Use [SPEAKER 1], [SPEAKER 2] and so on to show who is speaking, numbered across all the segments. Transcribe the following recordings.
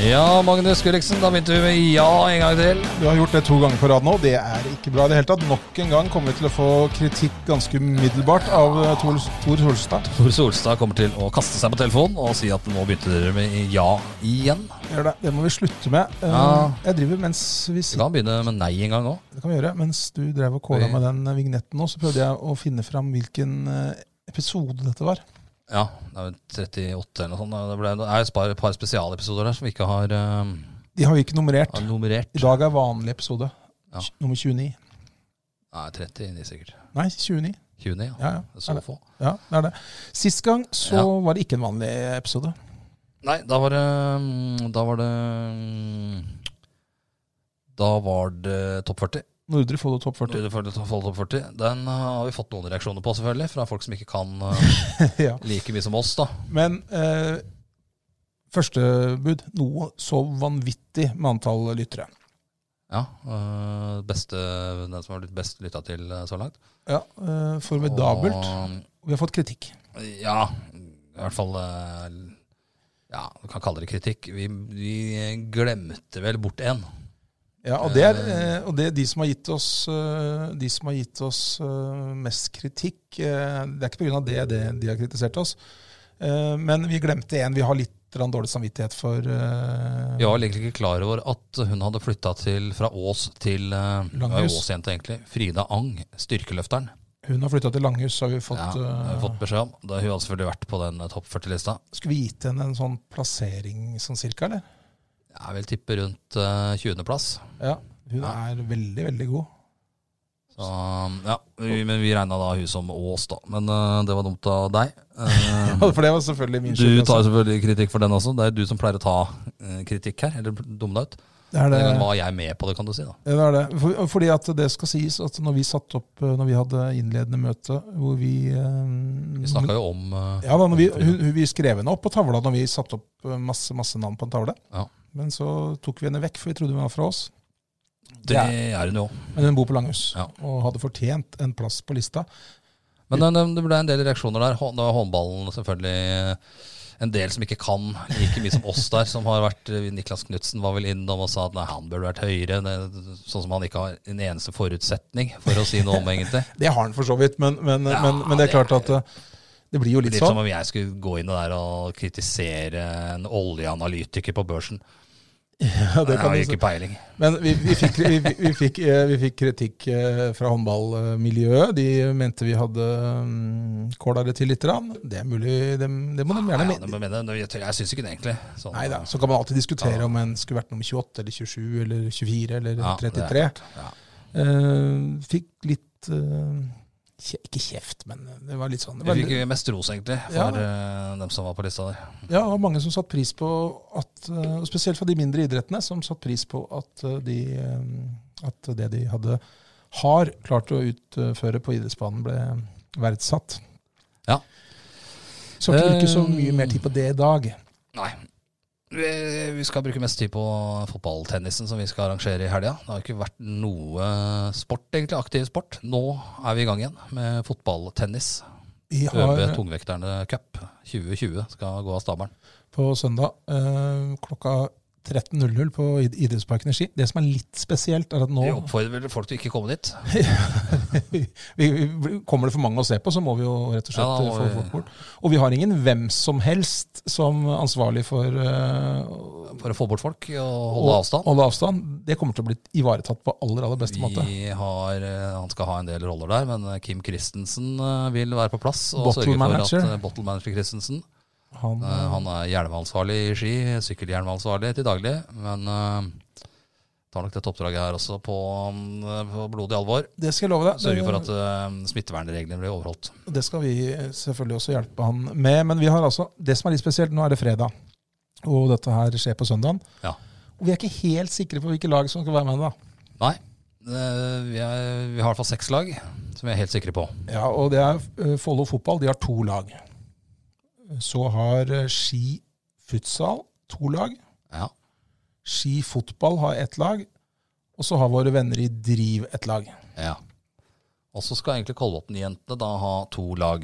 [SPEAKER 1] Ja, Magnus Gulliksen, da begynte vi med ja en gang til.
[SPEAKER 2] Du har gjort det to ganger på rad nå. Det er ikke bra i det hele tatt. Nok en gang kommer vi til å få kritikk ganske umiddelbart av eh, Tor, Tor Solstad.
[SPEAKER 1] Tor Solstad kommer til å kaste seg på telefonen og si at nå begynte dere med ja igjen.
[SPEAKER 2] Gjør det. det må vi slutte med. Eh,
[SPEAKER 1] Ja.
[SPEAKER 2] Jeg driver mens vi
[SPEAKER 1] Vi
[SPEAKER 2] sitter
[SPEAKER 1] kan begynne med nei en gang òg.
[SPEAKER 2] Det kan vi gjøre. Mens du drev og kåla med den vignetten nå, så prøvde jeg å finne fram hvilken eh, episode dette var.
[SPEAKER 1] Ja, det er vel 38 eller noe sånt. Det ble- Det er et par, par spesialepisoder der som vi ikke har, eh,
[SPEAKER 2] De har vi ikke nummerert.
[SPEAKER 1] har nummerert.
[SPEAKER 2] I dag er vanlig episode.
[SPEAKER 1] Ja.
[SPEAKER 2] Nummer 29.
[SPEAKER 1] Nei, 30 inni sikkert.
[SPEAKER 2] Nei, 29.
[SPEAKER 1] 29, ja.
[SPEAKER 2] Ja, ja.
[SPEAKER 1] Det er Så
[SPEAKER 2] Er det?
[SPEAKER 1] få.
[SPEAKER 2] Ja, det er det. Sist gang så
[SPEAKER 1] Ja.
[SPEAKER 2] var det ikke en vanlig episode.
[SPEAKER 1] Nei, da var det mm, Da var det mm, Da var det topp 40.
[SPEAKER 2] Nordre Follo topp 40.
[SPEAKER 1] Nordre Follo- Follo Topp 40. Den eh, har vi fått noen reaksjoner på, selvfølgelig. Fra folk som ikke kan eh,
[SPEAKER 2] ja.
[SPEAKER 1] like mye som oss, da.
[SPEAKER 2] Men eh, førstebud noe så vanvittig med antall lyttere.
[SPEAKER 1] Ja, øh, beste, Den som har blitt best lytta til øh, så langt.
[SPEAKER 2] Ja, eh, Formidabelt. Vi har fått kritikk.
[SPEAKER 1] Og, eh, ja, i hvert fall øh, Ja, du kan kalle det kritikk. Vi, vi glemte vel bort en.
[SPEAKER 2] Ja, og det er, eh, og det er de som har gitt oss, eh, de som har gitt oss eh, mest kritikk. Eh, det er ikke pga. det, det de har kritisert oss, eh, men vi glemte en vi har litt grann dårlig samvittighet for. Eh,
[SPEAKER 1] Vi var vel egentlig ikke klar over at hun hadde flytta fra Ås til øh, det var jo
[SPEAKER 2] Langhus.
[SPEAKER 1] Ås jente egentlig, Frida Ang, styrkeløfteren.
[SPEAKER 2] Hun har flytta til Langhus, har vi fått.
[SPEAKER 1] ja, det har vi
[SPEAKER 2] eh,
[SPEAKER 1] fått beskjed om. Da Hun hadde selvfølgelig vært på den øh, topp 40-lista.
[SPEAKER 2] Skulle vi gitt henne en sånn plassering sånn cirka, eller?
[SPEAKER 1] Jeg vil tippe rundt øh, 20.-plass.
[SPEAKER 2] Ja. Hun
[SPEAKER 1] Ja.
[SPEAKER 2] er veldig, veldig god.
[SPEAKER 1] Så, ja, vi, men vi regna da hun som Ås, da. Men øh, det var dumt av deg. Eh,
[SPEAKER 2] For det var selvfølgelig min
[SPEAKER 1] du
[SPEAKER 2] skyld,
[SPEAKER 1] tar
[SPEAKER 2] altså.
[SPEAKER 1] selvfølgelig kritikk for den også. Det er du som pleier å ta eh, kritikk her, eller dumme deg ut.
[SPEAKER 2] Det er det.
[SPEAKER 1] Men var jeg med på det, kan du si. da
[SPEAKER 2] Ja, det er det. For, fordi at det skal sies at når vi satt opp eh, Når vi hadde innledende møte hvor vi eh,
[SPEAKER 1] Vi snakka jo om eh,
[SPEAKER 2] ja, da, når vi, hun, hun, vi skrev henne opp på tavla når vi satte opp eh, masse masse navn på en tavle.
[SPEAKER 1] Ja.
[SPEAKER 2] Men så tok vi henne vekk, for vi trodde hun var fra oss.
[SPEAKER 1] Det er hun jo.
[SPEAKER 2] Men hun bor på Langhus
[SPEAKER 1] Ja.
[SPEAKER 2] og hadde fortjent en plass på lista.
[SPEAKER 1] Men det, det ble en del reaksjoner der. Hå- Det var håndballen selvfølgelig eh, en del som ikke kan like mye som oss der, som har vært eh, Niklas Knutsen var vel innom og sa at nei, han burde vært høyere. Det, sånn som han ikke har en eneste forutsetning for å si noe om, egentlig.
[SPEAKER 2] Det har han for så vidt, men, men,
[SPEAKER 1] Ja,
[SPEAKER 2] men, men det er
[SPEAKER 1] det
[SPEAKER 2] klart at eh, det blir jo litt
[SPEAKER 1] Litt som
[SPEAKER 2] sånn.
[SPEAKER 1] om jeg skulle gå inn der og kritisere en oljeanalytiker på børsen.
[SPEAKER 2] Ja, det
[SPEAKER 1] Jeg
[SPEAKER 2] kan
[SPEAKER 1] har
[SPEAKER 2] du
[SPEAKER 1] jo
[SPEAKER 2] si.
[SPEAKER 1] ikke peiling.
[SPEAKER 2] Men vi, vi, fikk, vi, vi- vi, fikk, eh, vi fikk kritikk eh, fra håndballmiljøet. De mente vi hadde mm, kåla det til litt. grann. Det er mulig, det, det må de
[SPEAKER 1] Nei, ja, det
[SPEAKER 2] gjerne mene.
[SPEAKER 1] må jeg mene. Jeg, jeg syns ikke det, egentlig. Sånn.
[SPEAKER 2] Nei da, så kan man alltid diskutere om en skulle vært nummer 28 eller 27 eller 24 eller
[SPEAKER 1] Ja, det er
[SPEAKER 2] 33.
[SPEAKER 1] Ja.
[SPEAKER 2] Eh, fikk litt eh, kje, Ikke kjeft, men det var litt sånn. Det
[SPEAKER 1] Vi
[SPEAKER 2] var,
[SPEAKER 1] fikk
[SPEAKER 2] litt-
[SPEAKER 1] jo mest ros, egentlig, for
[SPEAKER 2] Ja.
[SPEAKER 1] eh, dem som var på lista der.
[SPEAKER 2] ja, og mange som satte pris på at eh, og Spesielt fra de mindre idrettene, som satte pris på at, eh, de, eh, at det de hadde har klart å utføre på idrettsbanen, ble verdsatt.
[SPEAKER 1] Ja.
[SPEAKER 2] Så vi bruker så
[SPEAKER 1] Eh,
[SPEAKER 2] mye mer tid på det i dag.
[SPEAKER 1] Nei. Vi, vi skal bruke mest tid på fotballtennisen som vi skal arrangere i helga. Det har ikke vært noe sport, egentlig. Aktiv sport. Nå er vi i gang igjen med fotballtennis.
[SPEAKER 2] Vi
[SPEAKER 1] ØB
[SPEAKER 2] har
[SPEAKER 1] Tungvekterne Cup 2020 skal gå av stabelen.
[SPEAKER 2] på søndag eh, klokka 13.00 på Id- Idrettsparken i Ski. Det som er litt spesielt, er at nå
[SPEAKER 1] Vi oppfordrer vel folk til å ikke komme dit.
[SPEAKER 2] vi, vi, Kommer det for mange å se på, så må vi jo rett og slett
[SPEAKER 1] Ja, da må
[SPEAKER 2] eh, få
[SPEAKER 1] vi-
[SPEAKER 2] folk bort. Og vi har ingen hvem som helst som ansvarlig for eh,
[SPEAKER 1] For å få bort folk og
[SPEAKER 2] å-
[SPEAKER 1] holde avstand.
[SPEAKER 2] holde avstand. Det kommer til å bli ivaretatt på aller, aller beste måte.
[SPEAKER 1] Vi har, eh, han skal ha en del roller der, men eh, Kim Christensen eh, vil være på plass. Og
[SPEAKER 2] Bottle
[SPEAKER 1] sørge for
[SPEAKER 2] manager.
[SPEAKER 1] at eh, Bottle Manager Christensen
[SPEAKER 2] Han,
[SPEAKER 1] eh, Han er hjelmansvarlig i ski, sykkelhjelmansvarlig til daglig. Men eh, tar nok dette oppdraget her også på, mm, på blodig alvor.
[SPEAKER 2] det skal jeg love deg. Eh,
[SPEAKER 1] Sørge for at eh, smittevernreglene blir overholdt.
[SPEAKER 2] Det skal vi selvfølgelig også hjelpe han med. Men vi har altså, det som er litt spesielt, nå er det fredag. Og dette her skjer på søndagen.
[SPEAKER 1] Ja.
[SPEAKER 2] Og vi er ikke helt sikre på hvilke lag som skal være med. da.
[SPEAKER 1] Nei. Eh, Vi, er, vi har i hvert fall seks lag som vi er helt sikre på.
[SPEAKER 2] Ja, og det er eh, Follo fotball, de har to lag. Så har eh, Ski futsal to lag.
[SPEAKER 1] Ja.
[SPEAKER 2] Ski fotball har ett lag. Og så har våre venner i Driv ett lag.
[SPEAKER 1] ja. Og så skal egentlig Kolbotn-jentene da ha to lag.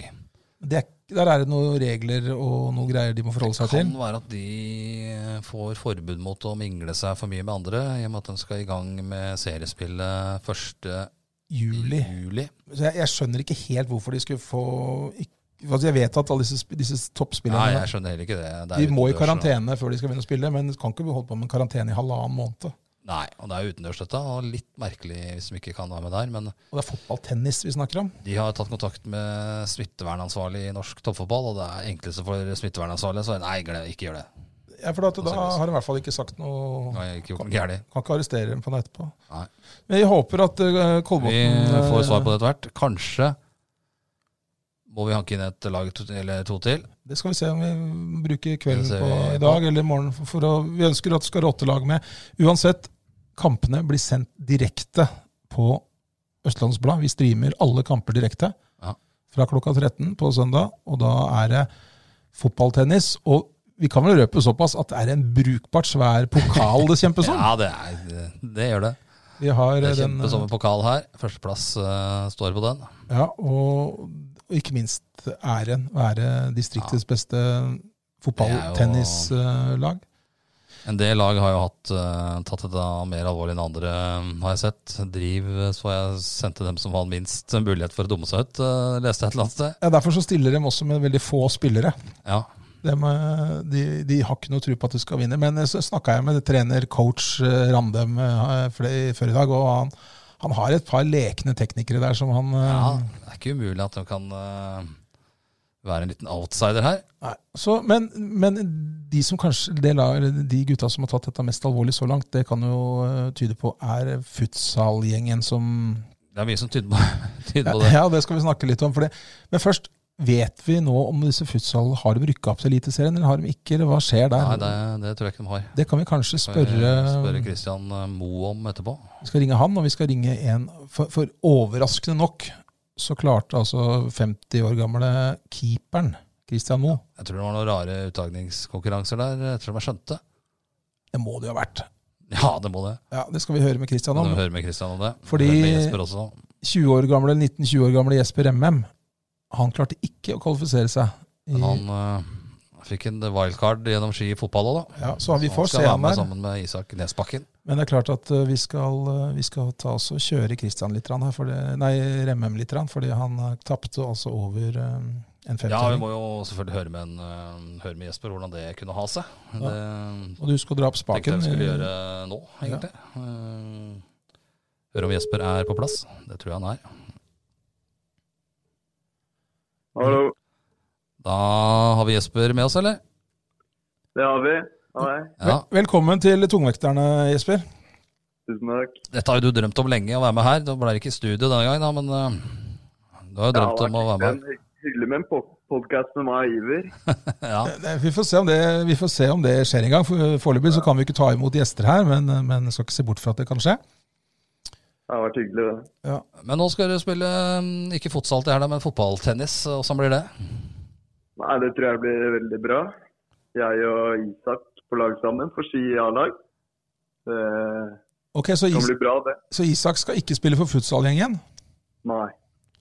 [SPEAKER 2] Det er, der er det noen regler og noen greier de må forholde seg
[SPEAKER 1] Kan
[SPEAKER 2] til.
[SPEAKER 1] være at de eh, får forbud mot å mingle seg for mye med andre, i og med at de skal i gang med seriespillet 1.
[SPEAKER 2] Juli.
[SPEAKER 1] juli.
[SPEAKER 2] Så jeg, jeg skjønner ikke helt hvorfor de skulle få ikk- altså Jeg vet at alle disse, sp- disse
[SPEAKER 1] Nei,
[SPEAKER 2] toppspillerne
[SPEAKER 1] jeg skjønner heller ikke det. det er
[SPEAKER 2] de må i
[SPEAKER 1] utendørs,
[SPEAKER 2] karantene før de skal begynne å spille, men kan ikke holde på med en karantene i halvannen måned.
[SPEAKER 1] og- Nei, og det er utendørs dette, og litt merkelig hvis de ikke kan være med der. Men
[SPEAKER 2] Og det er fotballtennis vi snakker om.
[SPEAKER 1] de har tatt kontakt med smittevernansvarlig i norsk toppfotball, og det er enkleste for smittevernansvarlig, så nei, glem, ikke gjør det.
[SPEAKER 2] Ja, for da, da har de i hvert fall ikke sagt noe
[SPEAKER 1] Nei, ikke gjort noe gærlig.
[SPEAKER 2] Kan ikke arrestere dem på det etterpå.
[SPEAKER 1] Nei.
[SPEAKER 2] Men jeg håper at eh,
[SPEAKER 1] Vi
[SPEAKER 2] Kolbotn eh,
[SPEAKER 1] får svar på det etter hvert. Kanskje må vi hanke inn et lag to, eller to til.
[SPEAKER 2] eh, Det skal vi se om vi bruker kvelden
[SPEAKER 1] Det ser
[SPEAKER 2] på
[SPEAKER 1] vi
[SPEAKER 2] i
[SPEAKER 1] på.
[SPEAKER 2] dag eller i morgen. For, for å, vi ønsker at det skal råtte lag med. Uansett, kampene blir sendt direkte på Østlandets Blad. Vi streamer alle kamper direkte
[SPEAKER 1] Ja.
[SPEAKER 2] fra klokka 13 på søndag. Og da er det fotballtennis. Og vi kan vel røpe såpass at det er en brukbart svær pokal det kjempes om.
[SPEAKER 1] Ja, det, er, det, det gjør det.
[SPEAKER 2] Vi har
[SPEAKER 1] Det
[SPEAKER 2] eh,
[SPEAKER 1] er
[SPEAKER 2] den,
[SPEAKER 1] kjempe som en pokal her. Førsteplass eh, står på den.
[SPEAKER 2] ja, og, og ikke minst æren være distriktets beste fotballtennislag.
[SPEAKER 1] En del lag har jo hatt, eh, tatt det da mer alvorlig enn andre, eh, har jeg sett. Driv eh, så jeg sendte dem som hadde minst mulighet for å dumme seg ut, eh, leste jeg et eller annet sted.
[SPEAKER 2] Ja, derfor så stiller de også med veldig få spillere.
[SPEAKER 1] Ja,
[SPEAKER 2] De, eh, de, de har ikke noe tro på at de skal vinne. Men eh, så snakka jeg med trener coach eh, Randem eh, fl- før i dag, og han, han har et par lekne teknikere der som han eh,
[SPEAKER 1] ja, det er ikke umulig at de kan eh, være en liten outsider her.
[SPEAKER 2] nei. Så, men, men de som kanskje det la- eller de gutta som har tatt dette mest alvorlig så langt, det kan jo eh, tyde på er futsalgjengen som
[SPEAKER 1] Det er mye som tyder på, tyder
[SPEAKER 2] ja,
[SPEAKER 1] på det.
[SPEAKER 2] ja, det skal vi snakke litt om. For det. Men først, vet vi nå om disse futsal har de rykka opp til Eliteserien, eller har de ikke? Eller hva skjer der?
[SPEAKER 1] Nei, det, det tror jeg ikke de har.
[SPEAKER 2] Det kan vi kanskje spørre,
[SPEAKER 1] Spørre Christian Moe om etterpå.
[SPEAKER 2] Vi skal ringe han, og vi skal ringe en For, for overraskende nok så klarte altså 50 år gamle keeperen Christian Moe
[SPEAKER 1] Jeg tror det var noen rare uttagningskonkurranser der, etter som jeg skjønte.
[SPEAKER 2] Det må det jo ha vært.
[SPEAKER 1] Ja, det må det.
[SPEAKER 2] Ja, Det skal vi høre med Christian
[SPEAKER 1] Kan du
[SPEAKER 2] om.
[SPEAKER 1] høre med Christian om det?
[SPEAKER 2] Fordi-
[SPEAKER 1] Hør med Jesper også.
[SPEAKER 2] 20 år gamle, 19-20 år gamle Jesper Remmem, han klarte ikke å kvalifisere seg. I,
[SPEAKER 1] Men han eh, fikk en wildcard gjennom ski i fotball òg, da.
[SPEAKER 2] ja, så vi
[SPEAKER 1] Så
[SPEAKER 2] får
[SPEAKER 1] skal
[SPEAKER 2] se
[SPEAKER 1] være
[SPEAKER 2] han
[SPEAKER 1] med altså.
[SPEAKER 2] der.
[SPEAKER 1] Sammen med Isak Nesbakken.
[SPEAKER 2] Men det er klart at eh, vi skal, eh, vi skal ta oss og kjøre Christian litt, grann her, for det, nei, Remmem litt, grann, fordi han eh, tapte altså over eh, en
[SPEAKER 1] Ja, vi
[SPEAKER 2] femtelling.
[SPEAKER 1] må jo selvfølgelig høre med, en, eh, høre med Jesper hvordan det kunne ha seg.
[SPEAKER 2] Ja.
[SPEAKER 1] Det
[SPEAKER 2] og du skal dra opp
[SPEAKER 1] tenkte
[SPEAKER 2] spaken.
[SPEAKER 1] jeg vi skulle
[SPEAKER 2] eh,
[SPEAKER 1] gjøre nå, egentlig. Eh, Høre om Jesper er på plass. Det tror jeg han er.
[SPEAKER 3] Hallo.
[SPEAKER 1] Da har vi Jesper med oss, eller?
[SPEAKER 3] Det har vi.
[SPEAKER 1] Ja.
[SPEAKER 3] Hei.
[SPEAKER 2] Eh, Vel- Velkommen til Tungvekterne, Jesper.
[SPEAKER 3] Tusen takk.
[SPEAKER 1] Dette har jo du drømt om lenge, å være med her. Du ble det ikke i studio denne gangen, da, men eh, du har jo drømt om å være med.
[SPEAKER 3] Det har vært en hy- Hyggelig med en po- podcast med meg og Iver.
[SPEAKER 1] Ja,
[SPEAKER 2] Eh, Det- Vi får se om det, vi får se om det skjer en gang. For- eh, Foreløpig så kan vi ikke ta imot gjester her, men, eh, men skal ikke se bort fra at det kan skje.
[SPEAKER 3] Det har vært hyggelig, det.
[SPEAKER 1] Men nå skal dere spille mm, ikke fotsal til helga, men fotballtennis. Åssen blir det?
[SPEAKER 3] Nei, det tror jeg blir veldig bra. Jeg og Isak på lag sammen for ski A-lag. Det
[SPEAKER 2] Ok, Så,
[SPEAKER 3] kan
[SPEAKER 2] Is
[SPEAKER 3] bli bra, det.
[SPEAKER 2] så Isak skal ikke spille for futsalgjengen?
[SPEAKER 3] Nei.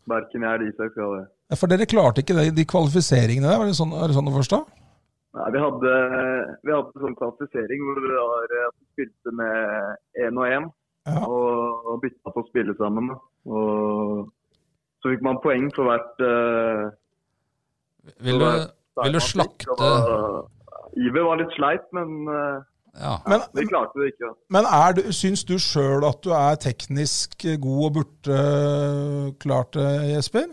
[SPEAKER 3] Verken jeg eller Isak skal det.
[SPEAKER 2] For dere klarte ikke det, de kvalifiseringene der, var det sånn, er det sånn å forstå?
[SPEAKER 3] Nei, vi hadde, vi hadde sånn klassifisering hvor vi var, eh, spilte med én og én.
[SPEAKER 2] Ja.
[SPEAKER 3] og, og bytta på å spille sammen. da. Og så fikk man poeng for hvert eh,
[SPEAKER 1] Vil du, vil du slakte
[SPEAKER 3] Og, Iver var litt sleit, men eh,
[SPEAKER 1] Ja.
[SPEAKER 2] Men,
[SPEAKER 3] vi klarte det ikke. da.
[SPEAKER 2] men er du, syns du sjøl at du er teknisk god og burde klart det, Jesper?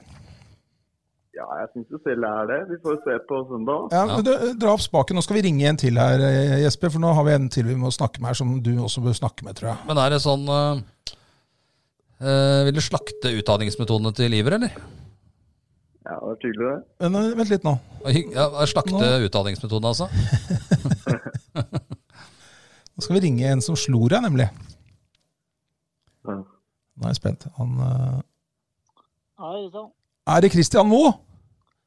[SPEAKER 3] Ja, jeg syns jo selv jeg er det. Vi får se på søndag.
[SPEAKER 2] Ja, men du, Dra opp spaken. Nå skal vi ringe en til her, eh, Jesper. For nå har vi en til vi må snakke med her, som du også bør snakke med, tror jeg.
[SPEAKER 1] Men er det sånn eh, eh, Vil du slakte utdanningsmetodene til Iver, eller?
[SPEAKER 3] Ja, det var tydelig, det.
[SPEAKER 2] Men eh, vent litt nå.
[SPEAKER 1] Ja, slakte utdanningsmetodene, altså?
[SPEAKER 2] Da skal vi ringe en som slo deg, nemlig.
[SPEAKER 3] Ja.
[SPEAKER 2] Nå er jeg spent. Han, eh,
[SPEAKER 4] Hei sann,
[SPEAKER 2] er det Christian Moe?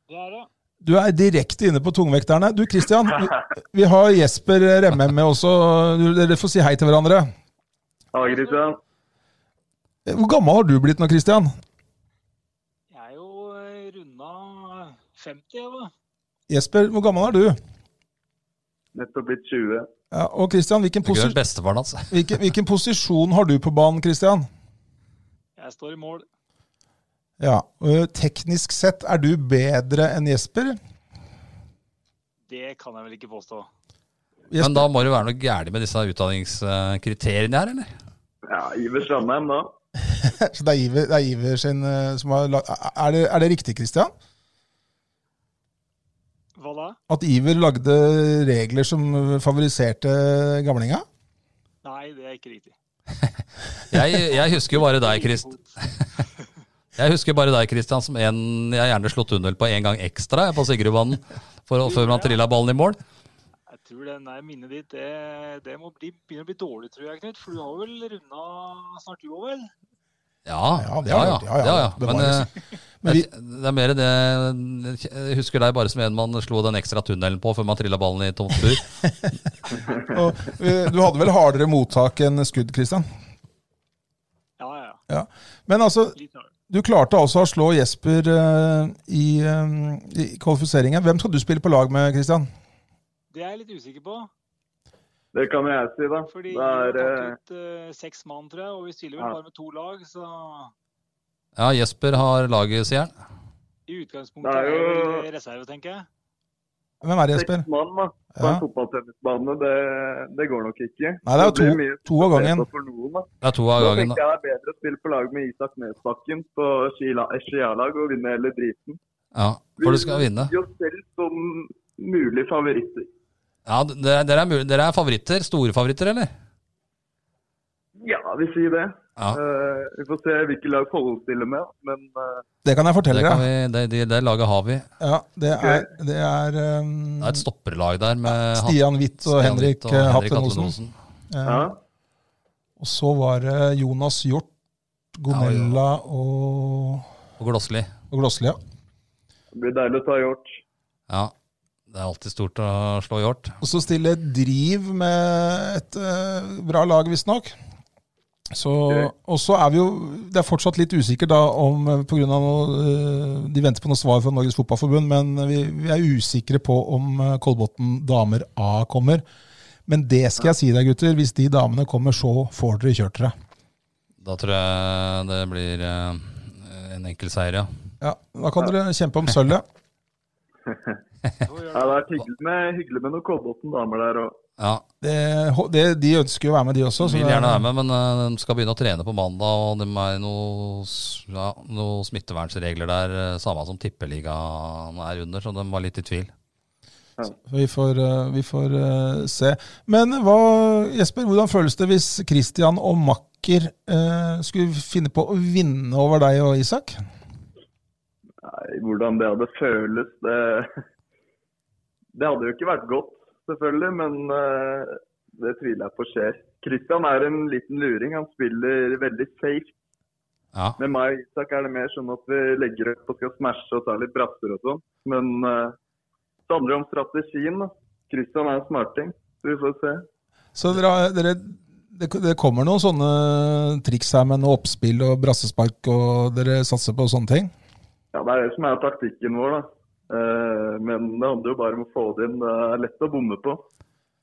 [SPEAKER 4] det er det.
[SPEAKER 2] Du er direkte inne på tungvekterne. Du Christian, vi, vi har Jesper Remme med også. Du- Dere får si hei til hverandre. Eh,
[SPEAKER 3] Ha det, Christian.
[SPEAKER 2] Hvor gammel har du blitt nå, Christian?
[SPEAKER 4] Jeg er jo eh, runda 50, jeg, da.
[SPEAKER 2] Jesper, hvor gammel er du?
[SPEAKER 3] Nettopp blitt 20.
[SPEAKER 2] Ja, og Christian, hvilken,
[SPEAKER 1] Du kunne
[SPEAKER 2] posi
[SPEAKER 1] vært bestefaren hans.
[SPEAKER 2] hvilken, hvilken posisjon har du på banen, Christian?
[SPEAKER 4] Jeg står i mål.
[SPEAKER 2] Ja, øh, Teknisk sett, er du bedre enn Jesper?
[SPEAKER 4] Det kan jeg vel ikke påstå.
[SPEAKER 1] Men
[SPEAKER 2] Jesper,
[SPEAKER 1] da må det være noe gærent med disse utdanningskriteriene her, eller?
[SPEAKER 3] Ja, Iver Strandheim, da.
[SPEAKER 2] så det er Iver, det er Iver sin øh, som har lag- er, det, er det riktig, Christian?
[SPEAKER 4] Hva da?
[SPEAKER 2] At Iver lagde regler som favoriserte gamlinga?
[SPEAKER 4] Nei, det er ikke riktig.
[SPEAKER 1] Jeg, jeg husker jo bare deg, Christ. Jeg husker bare deg, Christian, som en jeg gjerne slo tunnel på en gang ekstra jeg, på Sigrudbanen for å- før man trilla ballen i mål.
[SPEAKER 4] Jeg tror den der minnet ditt, det, det må bli, begynne å bli dårlig, tror jeg, Knut. For du har vel runda snart du òg, vel?
[SPEAKER 1] Ja,
[SPEAKER 2] Ja, det
[SPEAKER 1] ja,
[SPEAKER 2] har
[SPEAKER 1] ja.
[SPEAKER 2] jeg gjort. Ja, ja,
[SPEAKER 1] ja, ja. Men,
[SPEAKER 2] bevares.
[SPEAKER 1] eh,
[SPEAKER 2] Men
[SPEAKER 1] jeg- det er mer det Jeg husker deg bare som en man slo den ekstra tunnelen på før man trilla ballen i tomt bur.
[SPEAKER 2] Og, øh, du hadde vel hardere mottak enn skudd, Christian?
[SPEAKER 4] Ja, ja. ja.
[SPEAKER 2] Ja. Men altså,
[SPEAKER 4] Litt hard.
[SPEAKER 2] du klarte altså å slå Jesper øh, i, øh, i kvalifiseringen. Hvem skal du spille på lag med, Christian?
[SPEAKER 4] Det er jeg litt usikker på.
[SPEAKER 3] Det kan jeg si, da.
[SPEAKER 4] Fordi vi
[SPEAKER 3] Det
[SPEAKER 4] har
[SPEAKER 3] er, eh,
[SPEAKER 4] tatt ut eh, seks mann, tror jeg. Og vi stiller vel
[SPEAKER 3] Ja.
[SPEAKER 4] bare med to lag, så
[SPEAKER 1] Ja, Jesper har laget, sier han.
[SPEAKER 4] i
[SPEAKER 3] Det
[SPEAKER 4] utgangspunktet
[SPEAKER 3] er
[SPEAKER 4] er jo
[SPEAKER 3] jo-
[SPEAKER 4] vel reserve, tenker jeg.
[SPEAKER 2] Hvem er det, Jesper?
[SPEAKER 3] seks mann da, på
[SPEAKER 2] Ja.
[SPEAKER 3] en fotballtennisbane, det, det går nok ikke.
[SPEAKER 2] Nei, det er jo
[SPEAKER 3] blir
[SPEAKER 2] to-
[SPEAKER 3] mye
[SPEAKER 2] to av gangen.
[SPEAKER 3] beta For noen, da.
[SPEAKER 1] Det er to av
[SPEAKER 3] Da
[SPEAKER 1] gangen.
[SPEAKER 3] tenker jeg det er bedre å spille på lag med Isak Nesbakken på skila- skialag og vinne hele driten.
[SPEAKER 1] Ja, for du skal vinne.
[SPEAKER 3] Vi gir oss selv som mulige favoritter.
[SPEAKER 1] Ja, dere, dere, er, mul- dere er favoritter? Store favoritter, eller?
[SPEAKER 3] Ja, vi sier det.
[SPEAKER 1] Ja.
[SPEAKER 3] Eh, vi får se hvilke lag Follo stiller med, men eh,
[SPEAKER 2] Det kan jeg fortelle
[SPEAKER 1] Det,
[SPEAKER 2] dere.
[SPEAKER 1] kan vi, det, det, det laget har vi. Det
[SPEAKER 2] Ja, det er, det er, um,
[SPEAKER 1] er et stopperlag der med Han-
[SPEAKER 2] Stian Hvitt og
[SPEAKER 1] Stian
[SPEAKER 2] Henrik,
[SPEAKER 1] Hvitt
[SPEAKER 2] eh, Hatlen
[SPEAKER 1] Hatlen
[SPEAKER 2] Osen.
[SPEAKER 1] Osen.
[SPEAKER 3] ja.
[SPEAKER 2] Eh, Og så var det Jonas Hjort, Gonella og,
[SPEAKER 1] Og Glossli.
[SPEAKER 2] og Glossli, ja.
[SPEAKER 3] det blir deilig å ta hjort.
[SPEAKER 1] Ja. Det er alltid stort å slå hjort.
[SPEAKER 2] Og så stiller Driv med et eh, bra lag, visstnok. Så, og så er vi jo Det er fortsatt litt usikkert da om eh, på grunn av noe, eh, De venter på noe svar fra Norges Fotballforbund, men vi, vi er usikre på om eh, Kolbotn damer A kommer. Men det skal jeg si deg, gutter. Hvis de damene kommer, så får dere kjørt dere.
[SPEAKER 1] Da tror jeg det blir eh, en enkel seier, ja.
[SPEAKER 2] Ja, Da kan dere kjempe om sølvet.
[SPEAKER 4] Så gjør
[SPEAKER 3] Ja, det er hyggelig med, hyggelig med noen Kolbotn-damer der òg.
[SPEAKER 1] ja.
[SPEAKER 2] Det, det, de ønsker jo å være med, de også.
[SPEAKER 1] De
[SPEAKER 2] så
[SPEAKER 1] vil
[SPEAKER 2] det-
[SPEAKER 1] gjerne være med, men eh, de skal begynne å trene på mandag, og det er noe, s- ja, noe smittevernregler der, eh, samme som tippeligaen er under, så de var litt i tvil.
[SPEAKER 2] Vi får, eh, vi får eh, se. Men hva, Jesper, hvordan føles det hvis Christian og Makker eh, skulle finne på å vinne over deg og Isak?
[SPEAKER 3] Nei, hvordan det hadde føles det, det hadde jo ikke vært godt, selvfølgelig, men eh, det tviler jeg på skjer. Kristian er en liten luring. Han spiller veldig safe.
[SPEAKER 1] Ja.
[SPEAKER 3] Med meg og Isak er det mer sånn at vi legger opp og skal smashe og ta litt brasser og sånn. Men eh, det handler jo om strategien. da. Kristian er en smarting, så vi får se.
[SPEAKER 2] Så dere, har- dere, det, det kommer noen sånne triks her med noe oppspill og brassespark, og dere satser på sånne ting?
[SPEAKER 3] Ja, Det er det som er taktikken vår, da. Eh, men det handler jo bare om å få det inn. Det er lett å bomme på.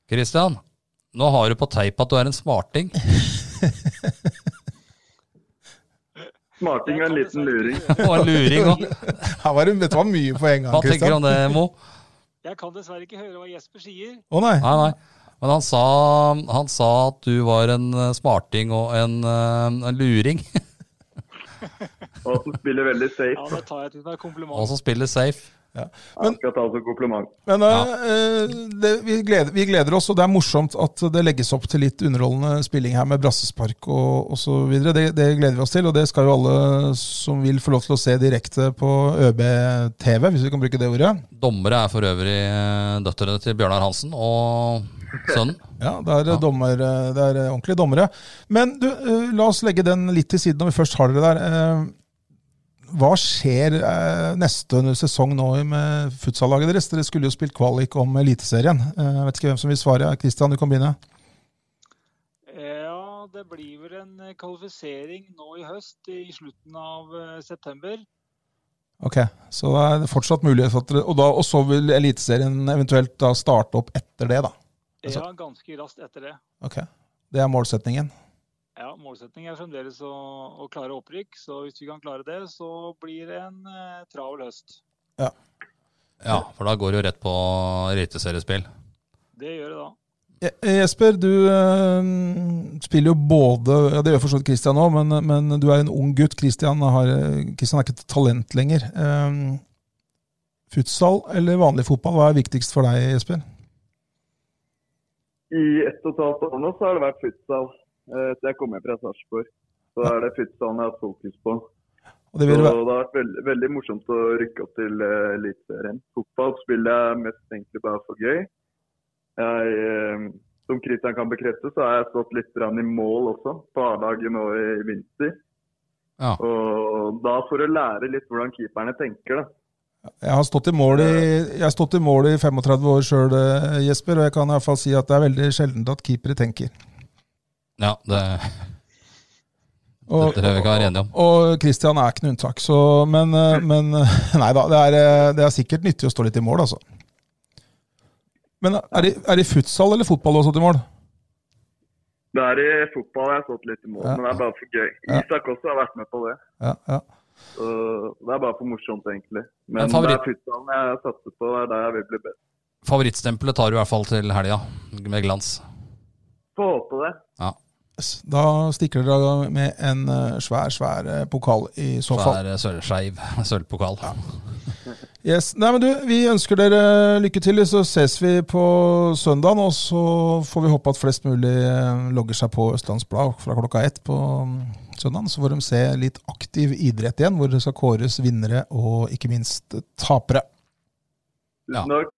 [SPEAKER 1] Kristian, nå har du på teip at du er en smarting.
[SPEAKER 3] Smarting er en liten luring.
[SPEAKER 1] Og en luring òg.
[SPEAKER 2] Her var det, dette var mye på en gang,
[SPEAKER 1] Hva tenker du
[SPEAKER 2] Christian.
[SPEAKER 1] om det, Mo?
[SPEAKER 4] Jeg kan dessverre ikke høre hva Jesper sier.
[SPEAKER 2] Å nei.
[SPEAKER 1] Nei, nei. Men han sa, han sa at du var en eh, smarting og en, eh, en luring,
[SPEAKER 3] Og at han spiller veldig safe.
[SPEAKER 4] Ja, det tar jeg til meg
[SPEAKER 1] og
[SPEAKER 4] kompliment.
[SPEAKER 1] Altså. som spiller safe.
[SPEAKER 3] Jeg skal ta det som kompliment.
[SPEAKER 2] Men eh, det, vi, gleder, vi gleder oss, og det er morsomt at det legges opp til litt underholdende spilling her med brassespark og osv. Det, det gleder vi oss til, og det skal jo alle som vil få lov til å se direkte på ØB-TV, hvis vi kan bruke det ordet.
[SPEAKER 1] Dommere er for øvrig eh, døtrene til Bjørnar Hansen og sønnen.
[SPEAKER 2] Ja, det er,
[SPEAKER 1] Ja.
[SPEAKER 2] Dommer, eh, det er ordentlige dommere. Men du, eh, la oss legge den litt til siden når vi først har dere der. Eh, Hva skjer eh, neste sesong nå med futsal-laget deres? Dere skulle jo spilt kvalik om Eliteserien. Eh, Jeg vet ikke hvem som vil svare. Kristian, du kan begynne.
[SPEAKER 4] Ja, det blir vel en eh, kvalifisering nå i høst, i slutten av eh, september.
[SPEAKER 2] Ok, Så det er fortsatt mulighet for at dere Og, da, og så vil Eliteserien eventuelt da starte opp etter det, da. Altså-
[SPEAKER 4] Ja, ganske raskt etter det.
[SPEAKER 2] Ok, Det er målsetningen.
[SPEAKER 4] Ja, Målsettingen er fremdeles å, å klare opprykk, så hvis vi kan klare det, så blir det en eh, travel høst.
[SPEAKER 1] Ja, for da går det jo rett på eliteseriespill.
[SPEAKER 4] Det gjør det da.
[SPEAKER 2] Je- Jesper, du eh, spiller jo både ja, Det gjør for så vidt Christian òg, men, men du er en ung gutt. Christian, har, Christian er ikke et talent lenger. Eh, futsal eller vanlig fotball, hva er viktigst for deg, Jesper?
[SPEAKER 3] I ett og et halvt år nå så har det vært futsal. eh, Etter jeg kom hjem fra Sarpsborg. Så er det futsalen jeg har hatt fokus på.
[SPEAKER 2] Og det
[SPEAKER 3] Så
[SPEAKER 2] vil,
[SPEAKER 3] det
[SPEAKER 2] være-
[SPEAKER 3] har vært veldig, veldig morsomt å rykke opp til eh, Eliteserien. Fotball spiller jeg mest egentlig bare for gøy. Jeg, eh, som Kristian kan bekrefte, så har jeg stått litt grann i mål også, på A-laget nå i vinter.
[SPEAKER 1] Ja.
[SPEAKER 3] Og da for å lære litt hvordan keeperne tenker, da.
[SPEAKER 2] jeg, har stått i mål i, jeg har stått i mål i 35 år sjøl, eh, Jesper, og jeg kan i hvert fall si at det er veldig sjeldent at keepere tenker.
[SPEAKER 1] Ja, det, det
[SPEAKER 2] Og,
[SPEAKER 1] tror jeg vi kan være enige om.
[SPEAKER 2] og Christian er ikke noe unntak, så Men, eh, men eh, Nei da, det er, eh, det er sikkert nyttig å stå litt i mål, altså. Men er det, er det futsal eller fotball du har stått i mål?
[SPEAKER 3] Det er i fotball jeg har stått litt i mål,
[SPEAKER 2] Ja.
[SPEAKER 3] men det er bare for gøy.
[SPEAKER 2] Ja.
[SPEAKER 3] Isak også har vært med på det.
[SPEAKER 2] Ja, ja.
[SPEAKER 3] Så det er bare for morsomt, egentlig.
[SPEAKER 1] Men
[SPEAKER 3] Men det
[SPEAKER 1] favoritt-
[SPEAKER 3] er futsalen jeg satser på, det er der jeg vil bli best.
[SPEAKER 1] Favorittstempelet tar du i hvert fall til helga, med glans.
[SPEAKER 3] Få håpe det.
[SPEAKER 2] Yes, Da stikker dere av med en eh, svær, svær eh, pokal i så
[SPEAKER 1] Så
[SPEAKER 2] fall.
[SPEAKER 1] er det sølvskeiv sølvpokal.
[SPEAKER 2] Yes. Nei, men du, Vi ønsker dere lykke til, så ses vi på søndagen. Og så får vi håpe at flest mulig eh, logger seg på Østlands Blad fra klokka ett på mm, søndagen. Så får de se litt aktiv idrett igjen, hvor det skal kåres vinnere og ikke minst eh, tapere.
[SPEAKER 1] Ja.
[SPEAKER 3] Tusen takk.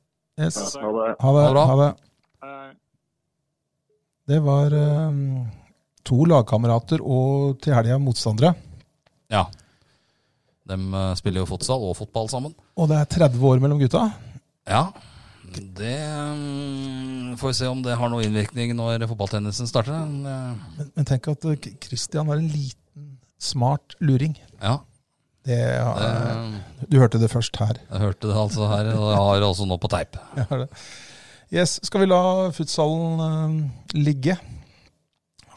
[SPEAKER 2] Yes.
[SPEAKER 3] Ha det.
[SPEAKER 2] Ha
[SPEAKER 1] Ha
[SPEAKER 2] det.
[SPEAKER 1] det bra.
[SPEAKER 2] Ha det.
[SPEAKER 4] Eh,
[SPEAKER 2] Det var eh, to lagkamerater og til helga motstandere.
[SPEAKER 1] Ja. De spiller jo futsal og fotball sammen.
[SPEAKER 2] Og det er 30 år mellom gutta.
[SPEAKER 1] Ja. Det mm, får vi se om det har noen innvirkning når fotballtennisen starter. Eh,
[SPEAKER 2] Men, men tenk at eh, K- Christian var en liten, smart luring.
[SPEAKER 1] Ja.
[SPEAKER 2] Det,
[SPEAKER 1] Det,
[SPEAKER 2] ja, du hørte det først her.
[SPEAKER 1] jeg hørte det altså her, og jeg har det også nå på teip.
[SPEAKER 2] Jeg har det. Yes, skal vi la futsalen eh, ligge?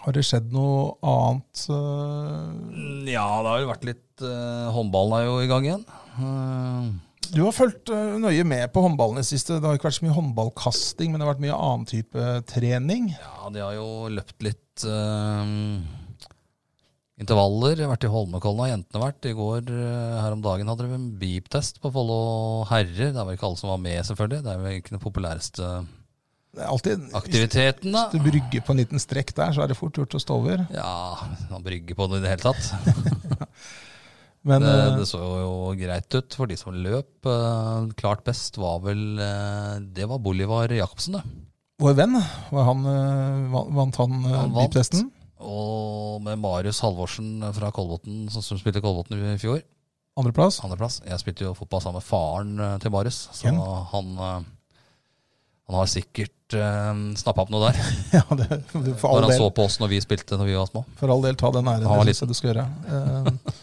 [SPEAKER 2] Har det skjedd noe annet? eh?
[SPEAKER 1] Ja, det har jo vært litt eh, Håndballen er jo i gang igjen. Eh,
[SPEAKER 2] Du har fulgt eh, nøye med på håndballen i det siste. Det har ikke vært så mye håndballkasting, men det har vært mye annen type trening.
[SPEAKER 1] ja, de har jo løpt litt eh, intervaller. Vært i Holmenkollen har jentene vært. I går eh, her om dagen hadde de en beep-test på Follo herrer. Det er vel ikke alle som var med, selvfølgelig. Det er vel ikke den populæreste
[SPEAKER 2] Det er alltid,
[SPEAKER 1] aktiviteten, da.
[SPEAKER 2] Hvis du brygger på en liten strekk der, så er det fort gjort å stå over.
[SPEAKER 1] Ja, han brygger på det i det hele tatt.
[SPEAKER 2] Men,
[SPEAKER 1] det,
[SPEAKER 2] eh,
[SPEAKER 1] det så jo greit ut for de som løp. Eh, Klart best var vel eh, Det var Bolivar Jacobsen, det.
[SPEAKER 2] vår venn, var han, eh, van- vant han
[SPEAKER 1] Han
[SPEAKER 2] uh,
[SPEAKER 1] vant.
[SPEAKER 2] beep-testen?
[SPEAKER 1] Og med Marius Halvorsen fra Kolbotn, som som spilte Kolbotn i fjor.
[SPEAKER 2] Andreplass?
[SPEAKER 1] Andreplass. Jeg spilte jo fotball sammen med faren eh, til Marius, så
[SPEAKER 2] Ken.
[SPEAKER 1] han, eh, han har sikkert uh, snappa opp noe der.
[SPEAKER 2] Ja, det, du,
[SPEAKER 1] Når
[SPEAKER 2] for, all
[SPEAKER 1] han så
[SPEAKER 2] del,
[SPEAKER 1] på oss når vi spilte når vi var små.
[SPEAKER 2] for all del, ta den æren
[SPEAKER 1] Han var
[SPEAKER 2] det syns jeg du skal gjøre. Eh,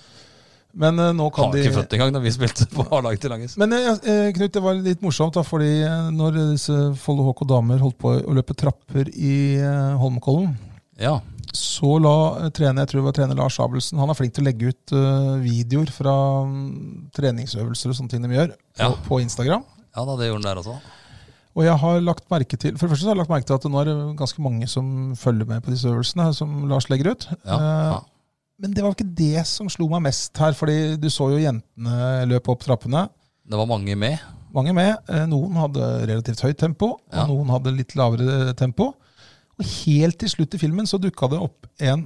[SPEAKER 2] Men eh, nå kan
[SPEAKER 1] Har
[SPEAKER 2] de
[SPEAKER 1] ikke født engang da vi spilte på A-laget til Langes.
[SPEAKER 2] Men eh, eh, Knut, det var litt morsomt, da, fordi eh, når disse Follo HK damer holdt på å løpe trapper i eh, Holmenkollen,
[SPEAKER 1] Ja.
[SPEAKER 2] så la eh, trener, jeg tror det var trener Lars Abelsen, han er flink til å legge ut eh, videoer fra mm, treningsøvelser og sånne ting de gjør,
[SPEAKER 1] Ja.
[SPEAKER 2] på, på Instagram.
[SPEAKER 1] ja da, det gjorde han der også.
[SPEAKER 2] Og jeg har lagt merke til For det første så har jeg lagt merke til at nå er det ganske mange som følger med på disse øvelsene som Lars legger ut.
[SPEAKER 1] Ja.
[SPEAKER 2] Eh,
[SPEAKER 1] ja.
[SPEAKER 2] Men det var ikke det som slo meg mest her, fordi du så jo jentene løpe opp trappene.
[SPEAKER 1] Det var mange med.
[SPEAKER 2] Mange med. Eh, Noen hadde relativt høyt tempo,
[SPEAKER 1] Ja.
[SPEAKER 2] og noen hadde litt lavere eh, tempo. Og helt til slutt i filmen så dukka det opp en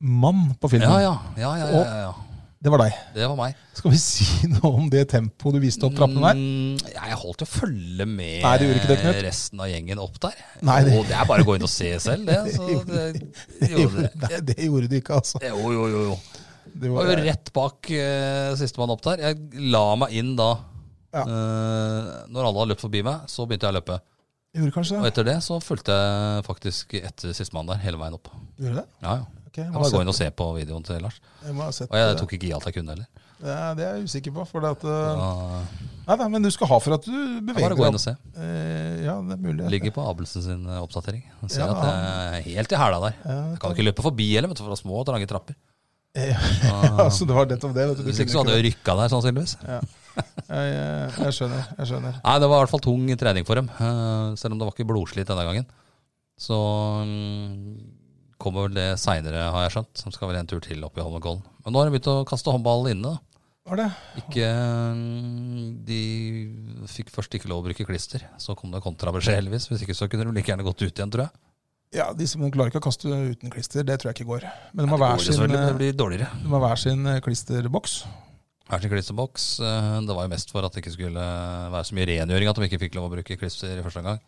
[SPEAKER 2] mann på filmen.
[SPEAKER 1] Ja, ja. ja, ja, ja, ja, ja.
[SPEAKER 2] Det var deg.
[SPEAKER 1] Det var meg.
[SPEAKER 2] Skal vi si noe om det tempoet du viste opp trappene der?
[SPEAKER 1] Mm, ja, jeg holdt jo følge med
[SPEAKER 2] Nei, du gjorde ikke det, Knut.
[SPEAKER 1] resten av gjengen opp der.
[SPEAKER 2] Nei, det-
[SPEAKER 1] Og det er bare å gå inn og se selv, det. Så det gjorde det.
[SPEAKER 2] Nei, det gjorde du ikke, altså.
[SPEAKER 1] Jo, jo, jo. jo.
[SPEAKER 2] Det
[SPEAKER 1] Det var jo rett bak eh, sistemann opp der. Jeg la meg inn da.
[SPEAKER 2] Ja.
[SPEAKER 1] Eh, når alle hadde løpt forbi meg, så begynte jeg å løpe.
[SPEAKER 2] Gjorde kanskje
[SPEAKER 1] Og
[SPEAKER 2] det?
[SPEAKER 1] etter det så fulgte jeg faktisk etter sistemann der hele veien opp.
[SPEAKER 2] Gjorde det?
[SPEAKER 1] Ja, ja.
[SPEAKER 2] Ok, jeg
[SPEAKER 1] Jeg
[SPEAKER 2] må
[SPEAKER 1] bare
[SPEAKER 2] ha
[SPEAKER 1] gå inn og se på videoen til Lars.
[SPEAKER 2] sett- jeg må ha sett
[SPEAKER 1] Og jeg
[SPEAKER 2] det.
[SPEAKER 1] tok ikke i alt jeg kunne heller.
[SPEAKER 2] Ja, det er jeg usikker på. For det at, eh,
[SPEAKER 1] Da-
[SPEAKER 2] nei, nei, men du skal ha for at du beveger
[SPEAKER 1] Bare
[SPEAKER 2] deg
[SPEAKER 1] gå inn
[SPEAKER 2] opp.
[SPEAKER 1] og se.
[SPEAKER 2] Eh, ja, det er mulig.
[SPEAKER 1] Ligger på Abelsen sin eh, oppdatering. Han ser
[SPEAKER 2] Ja.
[SPEAKER 1] at jeg er helt i hæla der. Jeg kan jo ikke løpe forbi heller, vet du, for det er små og trange trapper.
[SPEAKER 2] ja, så Eh, altså, det var nettopp det. Vet du. Du
[SPEAKER 1] Ah. Hvis ikke så
[SPEAKER 2] kunne
[SPEAKER 1] hadde jeg rykka der, sannsynligvis.
[SPEAKER 2] jeg, jeg, jeg skjønner. jeg skjønner.
[SPEAKER 1] Nei, det var i hvert fall tung trening for dem. eh, Selv om det var ikke blodslit denne gangen. Så mm, kommer vel det seinere, har jeg skjønt. Som skal vel en tur til opp i Holmenkollen. Men nå har de begynt å kaste håndball inne. da.
[SPEAKER 2] Var det?
[SPEAKER 1] Ikke, mm, de fikk først ikke lov å bruke klister. Så kom det kontrabeskjed, heldigvis. Hvis ikke så kunne de like gjerne gått ut igjen, tror jeg.
[SPEAKER 2] Ja, de som klarer ikke å kaste uten klister, det tror jeg ikke går. Men det må
[SPEAKER 1] Det,
[SPEAKER 2] hver
[SPEAKER 1] går jo
[SPEAKER 2] sin,
[SPEAKER 1] selvfølgelig, men det
[SPEAKER 2] eh,
[SPEAKER 1] blir dårligere.
[SPEAKER 2] det må hver sin eh, klisterboks.
[SPEAKER 1] Hver sin klisterboks. eh, Det var jo mest for at det ikke skulle være så mye rengjøring at de ikke fikk lov å bruke klister i første omgang.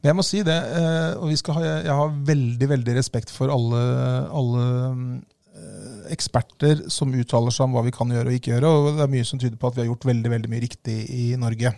[SPEAKER 2] Men jeg må si det, eh, og vi skal ha, jeg har veldig, veldig respekt for alle, alle mm, eh, eksperter som uttaler seg om hva vi kan gjøre og ikke gjøre, og det er mye som tyder på at vi har gjort veldig, veldig mye riktig i Norge.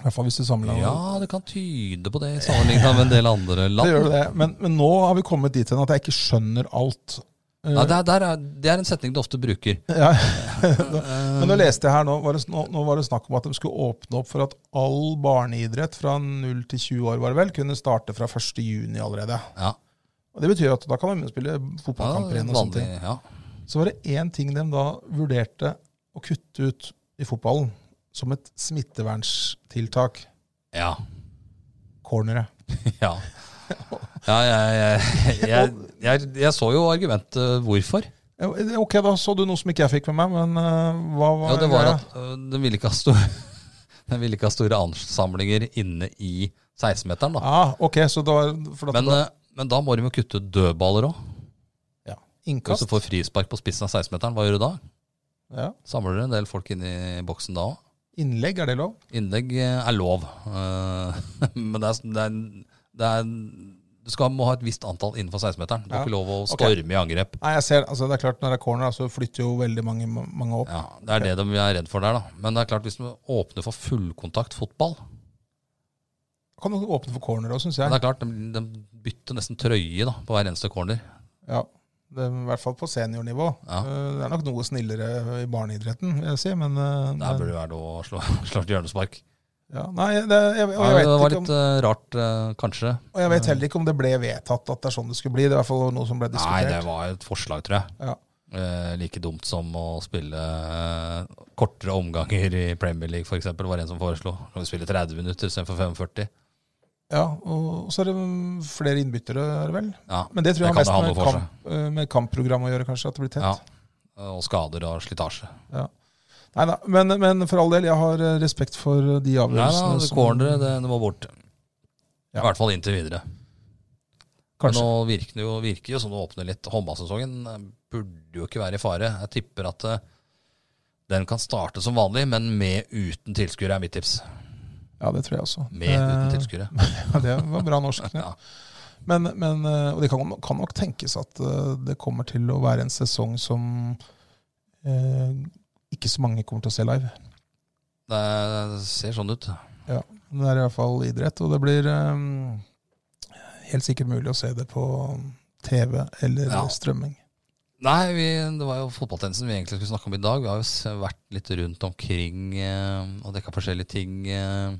[SPEAKER 2] I hvert fall hvis du sammenligner
[SPEAKER 1] Ja, det kan tyde på det, sammenlignet med en del andre land.
[SPEAKER 2] Det gjør det. Men, men nå har vi kommet dit hen at jeg ikke skjønner alt. Eh,
[SPEAKER 1] Nei, det, er, der er, det er en setning du ofte bruker.
[SPEAKER 2] ja. men nå leste jeg her, nå var, det, nå, nå var det snakk om at de skulle åpne opp for at all barneidrett fra 0 til 20 år var det vel, kunne starte fra 1. juni allerede.
[SPEAKER 1] Ja,
[SPEAKER 2] Og Det betyr at da kan man begynne å spille
[SPEAKER 1] ja,
[SPEAKER 2] fotballkamper igjen. og sånne
[SPEAKER 1] vanlig,
[SPEAKER 2] ting.
[SPEAKER 1] ja.
[SPEAKER 2] Så var det én ting de da vurderte å kutte ut i fotballen som et smittevernstiltak.
[SPEAKER 1] Ja,
[SPEAKER 2] Cornere.
[SPEAKER 1] ja. ja jeg, jeg, jeg, jeg, jeg så jo argumentet hvorfor.
[SPEAKER 2] Ja, eh, Ok, da så du noe som ikke jeg fikk med meg, men eh, hva var
[SPEAKER 1] Ja, det var
[SPEAKER 2] greia?
[SPEAKER 1] at øh, den ville ikke ha store, den ville ikke ha store ansamlinger inne i 16-meteren. da.
[SPEAKER 2] Ja, Ah, ok, så da, for da
[SPEAKER 1] Men, øh, men da må de jo kutte ut dødballer òg.
[SPEAKER 2] ja.
[SPEAKER 1] eh, Hvis
[SPEAKER 2] innkast.
[SPEAKER 1] du får frispark på spissen av 16-meteren, hva gjør du da?
[SPEAKER 2] Ja.
[SPEAKER 1] Samler du en del folk inn i boksen da òg?
[SPEAKER 2] Innlegg, er det lov?
[SPEAKER 1] Innlegg eh, er lov, eh, men det er, det er, det er du skal må ha et visst antall innenfor 16-meteren. Du har
[SPEAKER 2] Ja,
[SPEAKER 1] ikke lov å
[SPEAKER 2] ok.
[SPEAKER 1] storme i angrep.
[SPEAKER 2] Nei, jeg ser, altså det er klart Når det er corner, da, så flytter jo veldig mange, mange opp.
[SPEAKER 1] Ja, Det er det de er redd for der, da. Men det er klart, hvis du åpner for fullkontakt fotball
[SPEAKER 2] Kan du åpne for corner òg, syns
[SPEAKER 1] men
[SPEAKER 2] jeg.
[SPEAKER 1] Det er klart, de, de bytter nesten trøye da, på hver eneste corner.
[SPEAKER 2] Ja, det er I hvert fall på seniornivå.
[SPEAKER 1] Ja.
[SPEAKER 2] Eh, Det er nok noe snillere i barneidretten, vil jeg si. Men eh,
[SPEAKER 1] Der burde det være lov å slå, slå et hjørnespark.
[SPEAKER 2] ja, Nei, det, jeg, og,
[SPEAKER 1] Ja, det
[SPEAKER 2] jeg vet
[SPEAKER 1] var
[SPEAKER 2] ikke om,
[SPEAKER 1] litt eh, rart, eh, kanskje.
[SPEAKER 2] og jeg vet heller ikke om det ble vedtatt at det er sånn det skulle bli. Det er i hvert fall noe som ble
[SPEAKER 1] Nei, det
[SPEAKER 2] diskutert.
[SPEAKER 1] var et forslag, tror jeg.
[SPEAKER 2] Ja.
[SPEAKER 1] Eh, like dumt som å spille eh, kortere omganger i Premier League, f.eks. var det en som foreslo. Kan vi spille 30 minutter istedenfor 45?
[SPEAKER 2] Ja, og så er det mm, flere innbyttere, er det vel.
[SPEAKER 1] Ja,
[SPEAKER 2] Men det tror jeg
[SPEAKER 1] kan
[SPEAKER 2] har
[SPEAKER 1] det
[SPEAKER 2] mest
[SPEAKER 1] ha
[SPEAKER 2] med,
[SPEAKER 1] noe for seg.
[SPEAKER 2] kamp, eh, med kampprogram å gjøre, kanskje. At det blir tett.
[SPEAKER 1] Ja. Og skader og slitasje.
[SPEAKER 2] Neida, men, men for all del, jeg har eh, respekt for
[SPEAKER 1] Nei
[SPEAKER 2] de
[SPEAKER 1] da, altså,
[SPEAKER 2] avgjørelsene.
[SPEAKER 1] det
[SPEAKER 2] som-
[SPEAKER 1] cornere, det, det må bort.
[SPEAKER 2] Ja.
[SPEAKER 1] I hvert fall inntil videre. Men
[SPEAKER 2] Kanskje.
[SPEAKER 1] nå virker det jo, virker jo som det åpner litt. Håndballsesongen eh, burde jo ikke være i fare. Jeg tipper at eh, den kan starte som vanlig, men med uten tilskuere, er mitt tips.
[SPEAKER 2] Ja, det tror jeg også. Eh,
[SPEAKER 1] Med uten tilskuere.
[SPEAKER 2] Ja, det var bra norsk. Knut.
[SPEAKER 1] Ja.
[SPEAKER 2] Men, men, eh, og det kan, kan nok tenkes at eh, det kommer til å være en sesong som eh, ikke så mange kommer til å se live.
[SPEAKER 1] Det ser sånn ut.
[SPEAKER 2] Men Det er i hvert fall idrett, og det blir eh, helt sikkert mulig å se det på TV eller
[SPEAKER 1] Ja.
[SPEAKER 2] strømming.
[SPEAKER 1] Nei, vi, det var jo fotballtennisen vi egentlig skulle snakke om i dag. Vi har jo s- vært litt rundt omkring eh, og dekka forskjellige ting eh,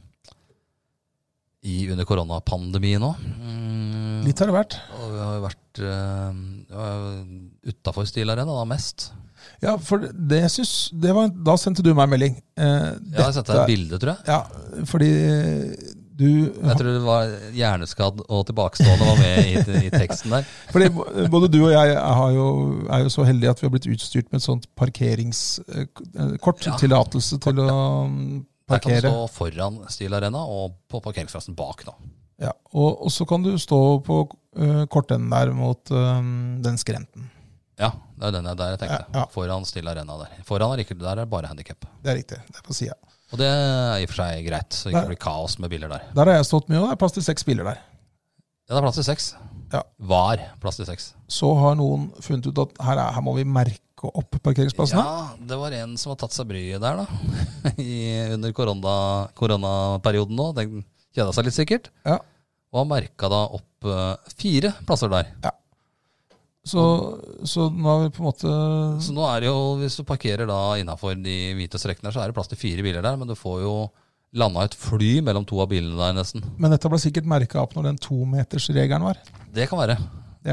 [SPEAKER 1] i, under koronapandemien òg. Mm,
[SPEAKER 2] Litt har det vært.
[SPEAKER 1] og vi har jo vært uh, utafor Steel Arena da, mest.
[SPEAKER 2] Ja, for det syns det var, Da sendte du meg en melding. Eh,
[SPEAKER 1] Ja, jeg sendte deg
[SPEAKER 2] dette-
[SPEAKER 1] et bilde, tror jeg.
[SPEAKER 2] Ja, fordi du
[SPEAKER 1] Jeg tror det var hjerneskadd og tilbakestående var med i, i teksten der.
[SPEAKER 2] Fordi både du og jeg har jo, er jo så heldige at vi har blitt utstyrt med et sånt eh, parkeringskort.
[SPEAKER 1] Ja.
[SPEAKER 2] Tillatelse til å mm,
[SPEAKER 1] Der kan du
[SPEAKER 2] parkere.
[SPEAKER 1] stå foran Steel Arena og på parkeringsplassen bak, da.
[SPEAKER 2] Ja, og, og så kan du stå på eh, kortenden der mot eh, den skrenten.
[SPEAKER 1] Ja, det er den jeg der jeg tenkte.
[SPEAKER 2] Ja, ja.
[SPEAKER 1] Foran Steel Arena der. Foran er ikke der er det bare handikap.
[SPEAKER 2] Det er riktig. det er på siden.
[SPEAKER 1] Og det er i og for seg greit, så det
[SPEAKER 2] Nei.
[SPEAKER 1] ikke blir kaos med biler der.
[SPEAKER 2] Der har jeg stått mye, og det er plass til seks biler der.
[SPEAKER 1] Ja, det er plass til seks.
[SPEAKER 2] Ja.
[SPEAKER 1] Var plass til seks.
[SPEAKER 2] Så har noen funnet ut at her, er, her må vi merke opp parkeringsplassene.
[SPEAKER 1] Ja, det var en som har tatt seg bryet der, da. I, under korona, koronaperioden nå. Den kjeda seg litt sikkert.
[SPEAKER 2] Ja.
[SPEAKER 1] Og har merka da opp eh, fire plasser der.
[SPEAKER 2] Mm. Så, så nå har vi på en måte
[SPEAKER 1] Så nå er det jo, hvis du parkerer da innafor de hvite strekkene her, så er det plass til fire biler der, men du får jo landa et fly mellom to av bilene der, nesten.
[SPEAKER 2] Men dette ble sikkert merka opp når den tometersregelen var.
[SPEAKER 1] Det kan være.
[SPEAKER 2] Det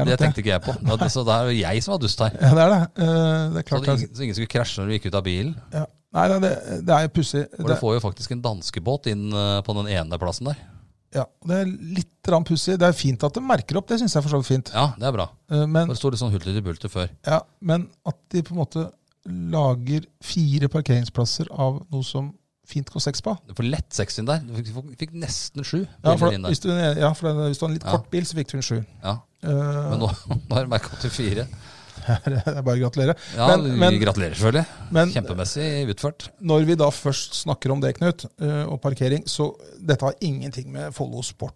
[SPEAKER 1] Det
[SPEAKER 2] er nok det.
[SPEAKER 1] tenkte ikke jeg på. Det, det- så det er jo jeg som var dust her.
[SPEAKER 2] Ja, det er det. Eh, det er
[SPEAKER 1] Så,
[SPEAKER 2] klart
[SPEAKER 1] det,
[SPEAKER 2] det er-
[SPEAKER 1] ingen- så ingen skulle krasje når du gikk ut av bilen.
[SPEAKER 2] Ja. Nei, nei, det, det er jo pussig.
[SPEAKER 1] For
[SPEAKER 2] Det,
[SPEAKER 1] du får jo faktisk en danskebåt inn eh, på den ene plassen der.
[SPEAKER 2] ja, det er litt rann pussig. Det er fint at de merker opp, det syns jeg for så vidt er fint.
[SPEAKER 1] Ja, det er bra.
[SPEAKER 2] Eh, Men,
[SPEAKER 1] For det sto litt sånn hulter til bulter før.
[SPEAKER 2] ja, men at de på en måte lager fire parkeringsplasser av noe som fint går seks på.
[SPEAKER 1] Du får lett seks inn der. Du fikk, fikk- fikk nesten sju
[SPEAKER 2] Ja,
[SPEAKER 1] biler
[SPEAKER 2] for,
[SPEAKER 1] inn
[SPEAKER 2] hvis
[SPEAKER 1] der.
[SPEAKER 2] du, ja, for det- hvis du har en litt
[SPEAKER 1] Ja.
[SPEAKER 2] kort bil, så fikk du en sju.
[SPEAKER 1] Ja,
[SPEAKER 2] Eh,
[SPEAKER 1] men nå, nå har jeg merka opp til fire.
[SPEAKER 2] Det er bare å gratulere.
[SPEAKER 1] Ja,
[SPEAKER 2] Men- men-
[SPEAKER 1] vi gratulerer, selvfølgelig.
[SPEAKER 2] Men
[SPEAKER 1] Kjempemessig utført.
[SPEAKER 2] når vi da først snakker om det, Knut, eh, og parkering, så dette har ingenting med Follo sport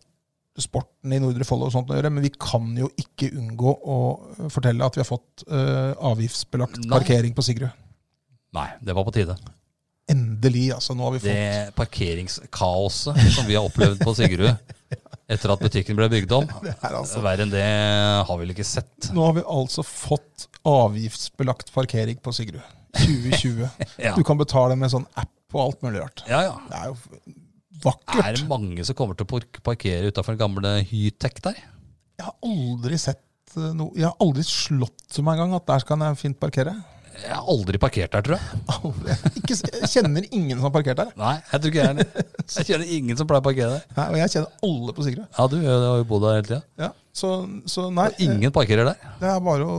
[SPEAKER 2] sporten i Nordre Follo og sånt å gjøre, men vi kan jo ikke unngå å fortelle at vi har fått eh, avgiftsbelagt
[SPEAKER 1] Nei.
[SPEAKER 2] parkering på Sigrud.
[SPEAKER 1] Nei, det var på tide.
[SPEAKER 2] Endelig, altså. Nå har vi fått
[SPEAKER 1] Det parkeringskaoset som vi har opplevd på Sigrud etter at butikken ble bygd om, eh,
[SPEAKER 2] det her, altså.
[SPEAKER 1] verre enn det har vi vel ikke sett.
[SPEAKER 2] Nå har vi altså fått avgiftsbelagt parkering på Sigrud. 2020.
[SPEAKER 1] Ja,
[SPEAKER 2] Du kan betale med sånn app og alt mulig rart.
[SPEAKER 1] ja. ja.
[SPEAKER 2] Det er jo
[SPEAKER 1] Er
[SPEAKER 2] vakkert.
[SPEAKER 1] det mange som kommer til å park- parkere utafor den gamle Hytec der?
[SPEAKER 2] Jeg har aldri sett eh, noe Jeg har aldri slått meg engang at der kan jeg fint parkere.
[SPEAKER 1] Jeg har aldri parkert der, tror jeg.
[SPEAKER 2] Aldri. Ikke, s- jeg kjenner ingen som har parkert der.
[SPEAKER 1] Nei, jeg tror ikke jeg er det. Jeg kjenner ingen som pleier å parkere der.
[SPEAKER 2] Nei, og jeg kjenner alle på Sigrud.
[SPEAKER 1] Ja, du jeg har jo bodd der hele tida.
[SPEAKER 2] Ja, så, så nei, eh,
[SPEAKER 1] Ingen parkerer der.
[SPEAKER 2] det er bare å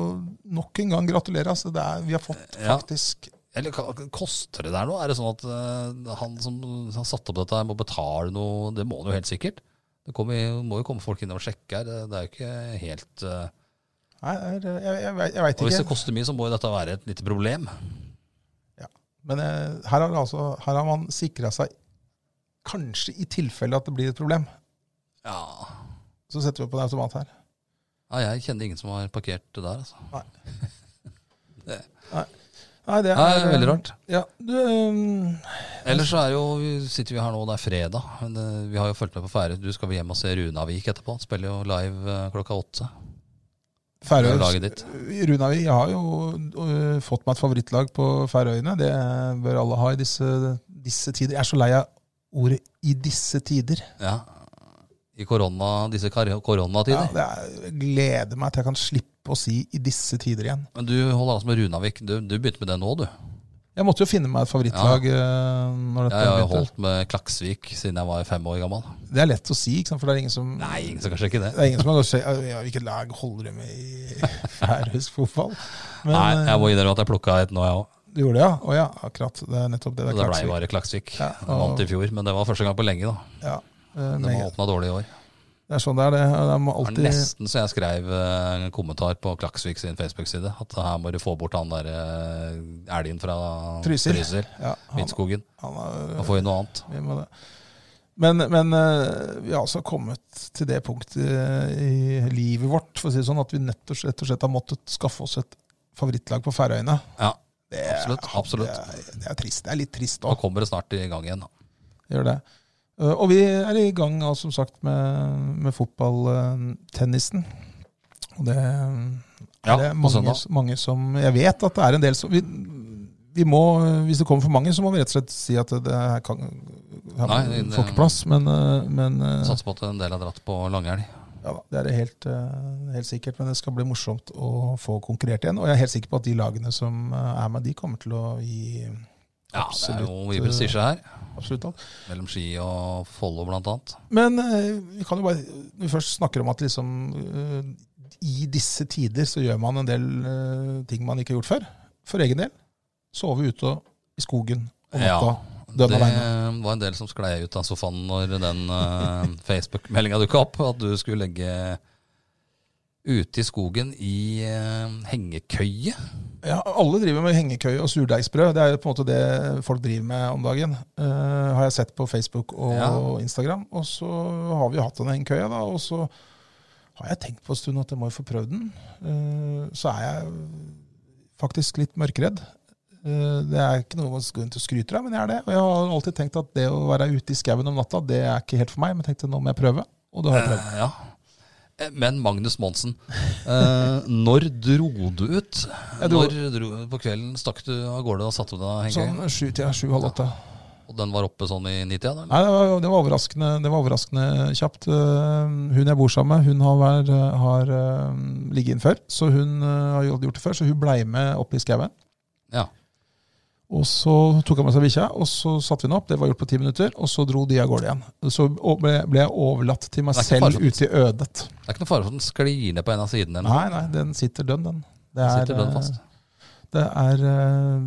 [SPEAKER 2] nok en gang gratulere. Altså. Det er, vi har fått
[SPEAKER 1] Ja.
[SPEAKER 2] faktisk
[SPEAKER 1] Eller hva- koster det der nå? Er det sånn at eh, han som har satt opp dette, her må betale noe? Det må han jo helt sikkert. Det kommer, må jo komme folk inn og sjekke her. Det, det er jo ikke helt eh,
[SPEAKER 2] Nei, det er- jeg, jeg, jeg veit
[SPEAKER 1] Og hvis det
[SPEAKER 2] ikke.
[SPEAKER 1] koster mye, så må jo dette være et lite problem.
[SPEAKER 2] Men eh, her har, det altså, her har man sikra seg Kanskje i tilfelle at det blir et problem,
[SPEAKER 1] Ja.
[SPEAKER 2] så setter vi på en automat her.
[SPEAKER 1] ja jeg kjenner ingen som har parkert det der, altså.
[SPEAKER 2] Nei, det
[SPEAKER 1] Nei,
[SPEAKER 2] er
[SPEAKER 1] veldig rart.
[SPEAKER 2] Ja, du, eh,
[SPEAKER 1] Ellers så er jo, vi sitter vi her nå, det er fredag. Men eh, vi har jo fulgt med på Færøy. Du skal vel hjem og se Runavik etterpå. Han spiller jo live eh, klokka åtte. Det er
[SPEAKER 2] Færøy
[SPEAKER 1] laget ditt.
[SPEAKER 2] Runavi jeg har jo eh, fått meg et favorittlag på Færøyene. Det bør alle ha i disse, disse tider. Jeg er så lei av ordet 'i disse tider'.
[SPEAKER 1] Ja. I korona, disse kar-
[SPEAKER 2] Ja,
[SPEAKER 1] koronatider.
[SPEAKER 2] det er, jeg gleder meg til jeg kan slippe å si 'i disse tider' igjen.
[SPEAKER 1] Men du holder altså med Runavik. Du, du begynte med det nå, du.
[SPEAKER 2] Jeg måtte jo finne meg et favorittlag. eh, Når dette
[SPEAKER 1] Jeg har jo
[SPEAKER 2] begynte.
[SPEAKER 1] holdt med Klaksvik siden jeg var fem år gammel.
[SPEAKER 2] Det er lett å si, ikke sant? for det er ingen som
[SPEAKER 1] Nei, ingen som kan sjekke det.
[SPEAKER 2] det er ingen som kan si ja, hvilket lag holder du med i færøysk fotball. Men
[SPEAKER 1] Nei,
[SPEAKER 2] eh,
[SPEAKER 1] jeg må innrømme at jeg plukka et nå, jeg òg.
[SPEAKER 2] du gjorde det, ja? Å ja, akkurat. Det er nettopp det.
[SPEAKER 1] Det
[SPEAKER 2] Det er
[SPEAKER 1] blei
[SPEAKER 2] klart.
[SPEAKER 1] bare Klaksvik.
[SPEAKER 2] Ja,
[SPEAKER 1] Jeg Vant i fjor, men det var første gang på lenge, da.
[SPEAKER 2] Ja, eh,
[SPEAKER 1] De har
[SPEAKER 2] meget.
[SPEAKER 1] åpna dårlig i år.
[SPEAKER 2] det er sånn det er. Det Det må
[SPEAKER 1] Det var
[SPEAKER 2] alltid
[SPEAKER 1] nesten så jeg skrev eh, en kommentar på Klaksvik sin Facebook-side at her må du få bort han der eh, elgen fra
[SPEAKER 2] Trysil. ja, han,
[SPEAKER 1] Midtskogen.
[SPEAKER 2] han er,
[SPEAKER 1] Da får vi noe annet.
[SPEAKER 2] Vi må det. Men, men eh, vi har altså kommet til det punktet eh, i livet vårt for å si det sånn, at vi nett og slett- rett og slett har måttet skaffe oss et favorittlag på Færøyene.
[SPEAKER 1] Ja,
[SPEAKER 2] Det,
[SPEAKER 1] absolutt. absolutt.
[SPEAKER 2] Det, er, det er trist. Det er litt trist
[SPEAKER 1] Nå
[SPEAKER 2] òg.
[SPEAKER 1] kommer det snart i gang igjen. da.
[SPEAKER 2] Gjør det. Eh, Og vi er i gang altså, som sagt med, med fotballtennisen. Og det eh,
[SPEAKER 1] Ja,
[SPEAKER 2] det er
[SPEAKER 1] på
[SPEAKER 2] mange,
[SPEAKER 1] søndag.
[SPEAKER 2] mange som Jeg vet at det er en del som vi, vi må, Hvis det kommer for mange, så må vi rett og slett si at det her kan her
[SPEAKER 1] Nei,
[SPEAKER 2] Nei,
[SPEAKER 1] det- Sånn.
[SPEAKER 2] får ikke plass. Men, eh, men eh,
[SPEAKER 1] Satser på at en del har dratt på langhelg.
[SPEAKER 2] ja, da, det er det helt, eh, helt sikkert. Men det skal bli morsomt å få konkurrert igjen. Og jeg er helt sikker på at de lagene som eh, er med, de kommer til å gi
[SPEAKER 1] Ja, det er jo
[SPEAKER 2] Absolutt,
[SPEAKER 1] mye
[SPEAKER 2] eh,
[SPEAKER 1] prestisje her.
[SPEAKER 2] absolutt alt.
[SPEAKER 1] Mellom Ski og Follo, blant annet.
[SPEAKER 2] Men eh, vi kan jo bare, når vi først snakker om at liksom, eh, i disse tider så gjør man en del eh, ting man ikke har gjort før. For egen del. Sove ute i skogen om
[SPEAKER 1] Ja,
[SPEAKER 2] natta.
[SPEAKER 1] Det
[SPEAKER 2] døgn alene.
[SPEAKER 1] var en del som sklei ut av sofaen når den eh, Facebook-meldinga dukka opp. At du skulle legge ute i skogen i eh, hengekøye.
[SPEAKER 2] Ja, alle driver med hengekøye og surdeigsbrød. Det er jo på en måte det folk driver med om dagen. eh, har jeg sett på Facebook og
[SPEAKER 1] Ja.
[SPEAKER 2] Instagram. Og så har vi hatt den hengekøya, da. Og så har jeg tenkt på en stund at jeg må jo få prøvd den. Eh, så er jeg faktisk litt mørkredd. Eh, det er ikke noe man skal gå rundt og skryte av, men jeg er det. Og jeg har alltid tenkt at det å være ute i skauen om natta, det er ikke helt for meg. Men tenkte nå må jeg prøve. Og det har jeg prøvd.
[SPEAKER 1] Eh, ja. Eh, Men Magnus Monsen, eh, når dro du ut?
[SPEAKER 2] Jeg dro-
[SPEAKER 1] Når dro, på kvelden stakk du av gårde og satte på deg hengekøya?
[SPEAKER 2] Sånn sju-tida, sju-halv åtte.
[SPEAKER 1] Og den var oppe sånn i nitida? da, eller?
[SPEAKER 2] Nei, det var, det var, overraskende, det var overraskende kjapt. Eh, Hun jeg bor sammen med, hun har, vær, har eh, ligget inn før. Så hun eh, har gjort gjort det før, så hun blei med opp i skauen.
[SPEAKER 1] Ja.
[SPEAKER 2] Og så tok han med seg bikkja, og så satte vi henne opp. Det var gjort på ti minutter, og så dro de av gårde igjen. Så å- ble, ble jeg overlatt til meg
[SPEAKER 1] Det er ikke
[SPEAKER 2] selv
[SPEAKER 1] farlig.
[SPEAKER 2] ute i ødet.
[SPEAKER 1] Det er ikke noe fare for at den sklir ned på en av sidene? eller noe.
[SPEAKER 2] Nei, nei, den sitter dønn, den.
[SPEAKER 1] Den
[SPEAKER 2] Det er, eh,
[SPEAKER 1] sitter den fast.
[SPEAKER 2] Det er eh,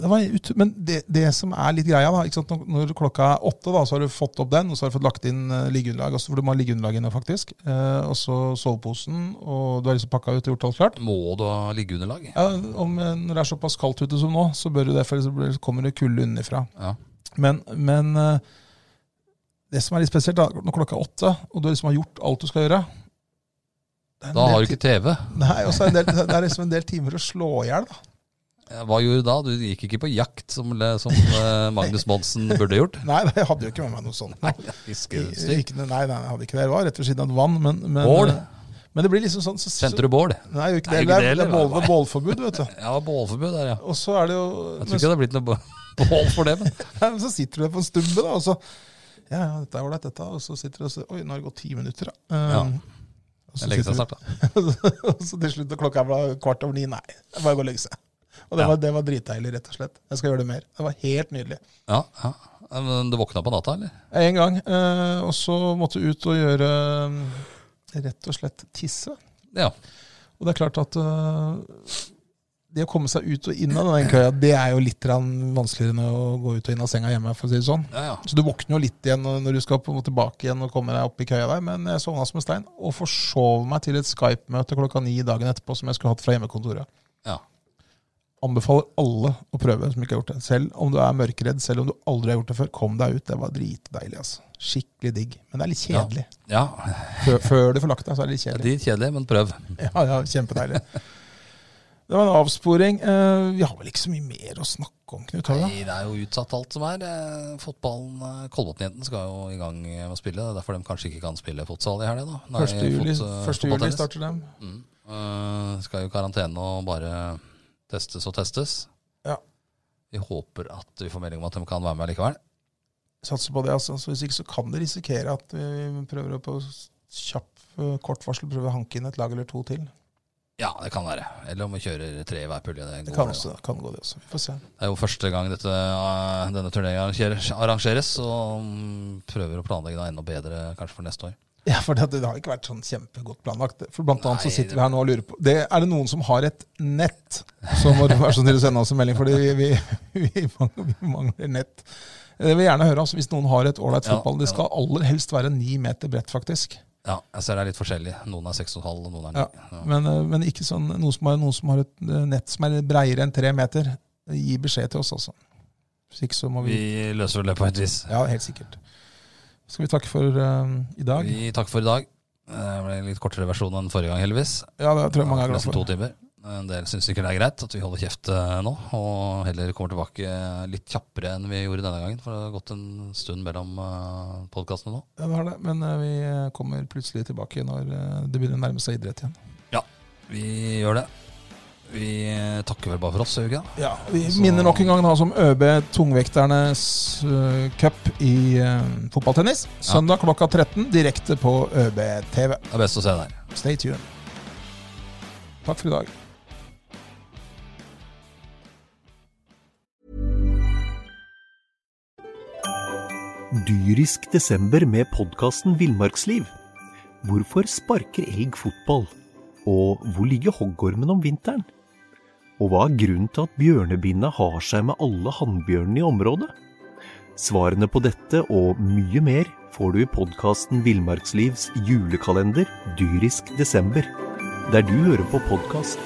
[SPEAKER 2] det var ut, Men det, det som er litt greia, da ikke sant? Når, når klokka er åtte, da, så har du fått opp den, og så har du fått lagt inn eh, liggeunderlag. og så- For du må ha liggeunderlag inne, faktisk. Eh, og så soveposen, og du har liksom pakka ut og gjort alt klart.
[SPEAKER 1] Må du ha liggeunderlag?
[SPEAKER 2] Ja, om, eh, når det er såpass kaldt ute som nå, så bør du det, for ellers blir- kommer det kulde underfra.
[SPEAKER 1] Ja.
[SPEAKER 2] Men, men eh, det som er litt spesielt, da, når klokka er åtte, og du liksom har gjort alt du skal gjøre det er en
[SPEAKER 1] Da
[SPEAKER 2] del
[SPEAKER 1] har du
[SPEAKER 2] ti-
[SPEAKER 1] ikke TV.
[SPEAKER 2] Nei, og så er det, en del, det er liksom en del timer å slå i hjel. da.
[SPEAKER 1] Eh, Hva gjorde du da? Du gikk ikke på jakt, som, som eh, Magnus Monsen burde gjort?
[SPEAKER 2] Nei, nei, jeg hadde jo ikke med meg noe sånt. Nei,
[SPEAKER 1] Fiskestyr.
[SPEAKER 2] Ikke, nei, nei, jeg hadde ikke det. Jeg var rett ved siden av et vann. Men, men,
[SPEAKER 1] Bål?
[SPEAKER 2] men det blir liksom sånn så,
[SPEAKER 1] Kjente du bål?
[SPEAKER 2] Nei, jeg gjorde ikke
[SPEAKER 1] Nei, gjorde
[SPEAKER 2] det. Det
[SPEAKER 1] ikke
[SPEAKER 2] er,
[SPEAKER 1] det
[SPEAKER 2] det er bål,
[SPEAKER 1] heller, nei.
[SPEAKER 2] bålforbud, vet du.
[SPEAKER 1] Ja, bålforbud der, ja.
[SPEAKER 2] Og så er det jo
[SPEAKER 1] Jeg tror
[SPEAKER 2] men,
[SPEAKER 1] ikke det har blitt noe bå- bål for det, men
[SPEAKER 2] så- så sitter du der på en stubbe, da, og så Ja, ja, dette er ålreit, dette. Og så sitter du og så Oi, nå har det gått ti minutter, da.
[SPEAKER 1] Ja.
[SPEAKER 2] Um, og så
[SPEAKER 1] jeg legger
[SPEAKER 2] sitter
[SPEAKER 1] seg
[SPEAKER 2] du-
[SPEAKER 1] snart, da.
[SPEAKER 2] og så til slutt, når klokka var kvart over ni, nei, jeg bare gå og legge seg. Og det,
[SPEAKER 1] Ja.
[SPEAKER 2] var, det var dritdeilig, rett og slett. Jeg skal gjøre det mer. Det var helt nydelig.
[SPEAKER 1] Ja, ja. Eh, Men du våkna på natta, eller?
[SPEAKER 2] En gang. eh, og så måtte jeg ut og gjøre eh, rett og slett tisse.
[SPEAKER 1] Ja.
[SPEAKER 2] Og det er klart at øh, det å komme seg ut og inn av den køya, det er jo litt grann vanskeligere enn å gå ut og inn av senga hjemme. for å si det sånn.
[SPEAKER 1] ja, ja.
[SPEAKER 2] Så du våkner jo litt igjen når du skal på en måte tilbake igjen og komme deg opp i køya der. Men jeg sovna som en stein og forsov meg til et Skype-møte klokka ni dagen etterpå som jeg skulle hatt fra hjemmekontoret.
[SPEAKER 1] Ja.
[SPEAKER 2] Anbefaler alle å prøve som ikke har gjort det. Selv om du er mørkredd, selv om du aldri har gjort det før, kom deg ut. Det var dritdeilig. altså. Skikkelig digg. Men det er litt kjedelig.
[SPEAKER 1] ja.
[SPEAKER 2] Før, før du får lagt deg, så er det litt
[SPEAKER 1] Det
[SPEAKER 2] kjedelig.
[SPEAKER 1] er litt kjedelig, men prøv.
[SPEAKER 2] Ja, ja, kjempedeilig. Det var en avsporing. Eh, Vi har vel ikke så mye mer å snakke om, Knut? Har vi det?
[SPEAKER 1] Nei, det er jo utsatt alt som er. Eh, Fotballen, eh, Kolbotn-jentene skal jo i gang eh, med å spille. Det er derfor de kanskje ikke kan spille fotsal i helga.
[SPEAKER 2] 1. juli,
[SPEAKER 1] eh,
[SPEAKER 2] 1. juli starter dem.
[SPEAKER 1] Mm. Eh, skal jo i karantene og bare testes og testes.
[SPEAKER 2] Ja.
[SPEAKER 1] Vi håper at vi får melding om at de kan være med likevel.
[SPEAKER 2] Satser på det. altså. Så Hvis ikke så kan det risikere at vi prøver å på s- kjapp, eh, kort varsel prøve å hanke inn et lag eller to til.
[SPEAKER 1] Ja, det kan være. Eller om vi kjører tre i hver pulje. Det, går,
[SPEAKER 2] Det kan,
[SPEAKER 1] det,
[SPEAKER 2] også, kan gå, det også. Vi får se.
[SPEAKER 1] Det er jo første gang dette, eh, denne turneringen arrangeres- arrangeres, og mm, prøver å planlegge det enda bedre kanskje for neste år.
[SPEAKER 2] Ja, for det, det har ikke vært sånn kjempegodt planlagt. For blant annet så
[SPEAKER 1] Nei,
[SPEAKER 2] sitter
[SPEAKER 1] det-
[SPEAKER 2] vi her nå og lurer på det, Er det noen som har et nett, så må du være så snill å sende oss en melding, fordi vi, vi, vi, mangler, vi mangler nett. Jeg vil gjerne høre altså, hvis noen har et ålreit
[SPEAKER 1] Ja,
[SPEAKER 2] fotball. Det
[SPEAKER 1] ja.
[SPEAKER 2] skal aller helst være ni meter bredt, faktisk.
[SPEAKER 1] Ja, jeg ser det er litt forskjellig. Noen er 6,5 og noen er 9. Ja.
[SPEAKER 2] Men, eh, men ikke sånn noen som, har, noen som har et eh, nett som er breiere enn tre meter. Gi beskjed til oss, altså. Hvis ikke så må vi
[SPEAKER 1] Vi løser vel det på et vis.
[SPEAKER 2] Ja, helt sikkert. Skal vi takke for eh, i dag?
[SPEAKER 1] Vi takker for i dag. Eh, Det ble en litt kortere versjon enn forrige gang, heldigvis.
[SPEAKER 2] Ja, det tror jeg mange er glad
[SPEAKER 1] Nesten to
[SPEAKER 2] for.
[SPEAKER 1] timer. En del syns ikke det er greit at vi holder kjeft eh, nå, og heller kommer tilbake litt kjappere enn vi gjorde denne gangen. For det har gått en stund mellom podkastene nå.
[SPEAKER 2] eh, Ja, det har det. Men eh, vi kommer plutselig tilbake når eh, det begynner å nærme seg idrett igjen.
[SPEAKER 1] Vi gjør det. Vi eh, takker vel bare for oss, gjør vi ikke det?
[SPEAKER 2] Ja, vi minner nok en gang da som ØB Tungvekternes eh, cup i eh, fotballtennis. Søndag klokka 13 direkte på ØB TV.
[SPEAKER 1] Det er best å se der.
[SPEAKER 2] Stay tuned. Takk for i dag.
[SPEAKER 5] Dyrisk desember med podkasten Villmarksliv. Hvorfor sparker elg fotball? Og hvor ligger hoggormen om vinteren? Og hva er grunnen til at bjørnebinna har seg med alle hannbjørnene i området? Svarene på dette og mye mer får du i podkasten Villmarkslivs julekalender dyrisk desember, der du hører på podkast.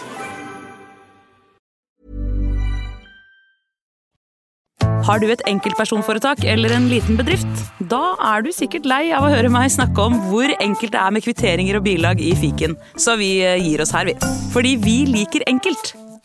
[SPEAKER 6] Har du et enkeltpersonforetak eller en liten bedrift? Da er du sikkert lei av å høre meg snakke om hvor enkelt det er med kvitteringer og bilag i fiken, så vi eh, gir oss her, vi. Fordi vi liker enkelt.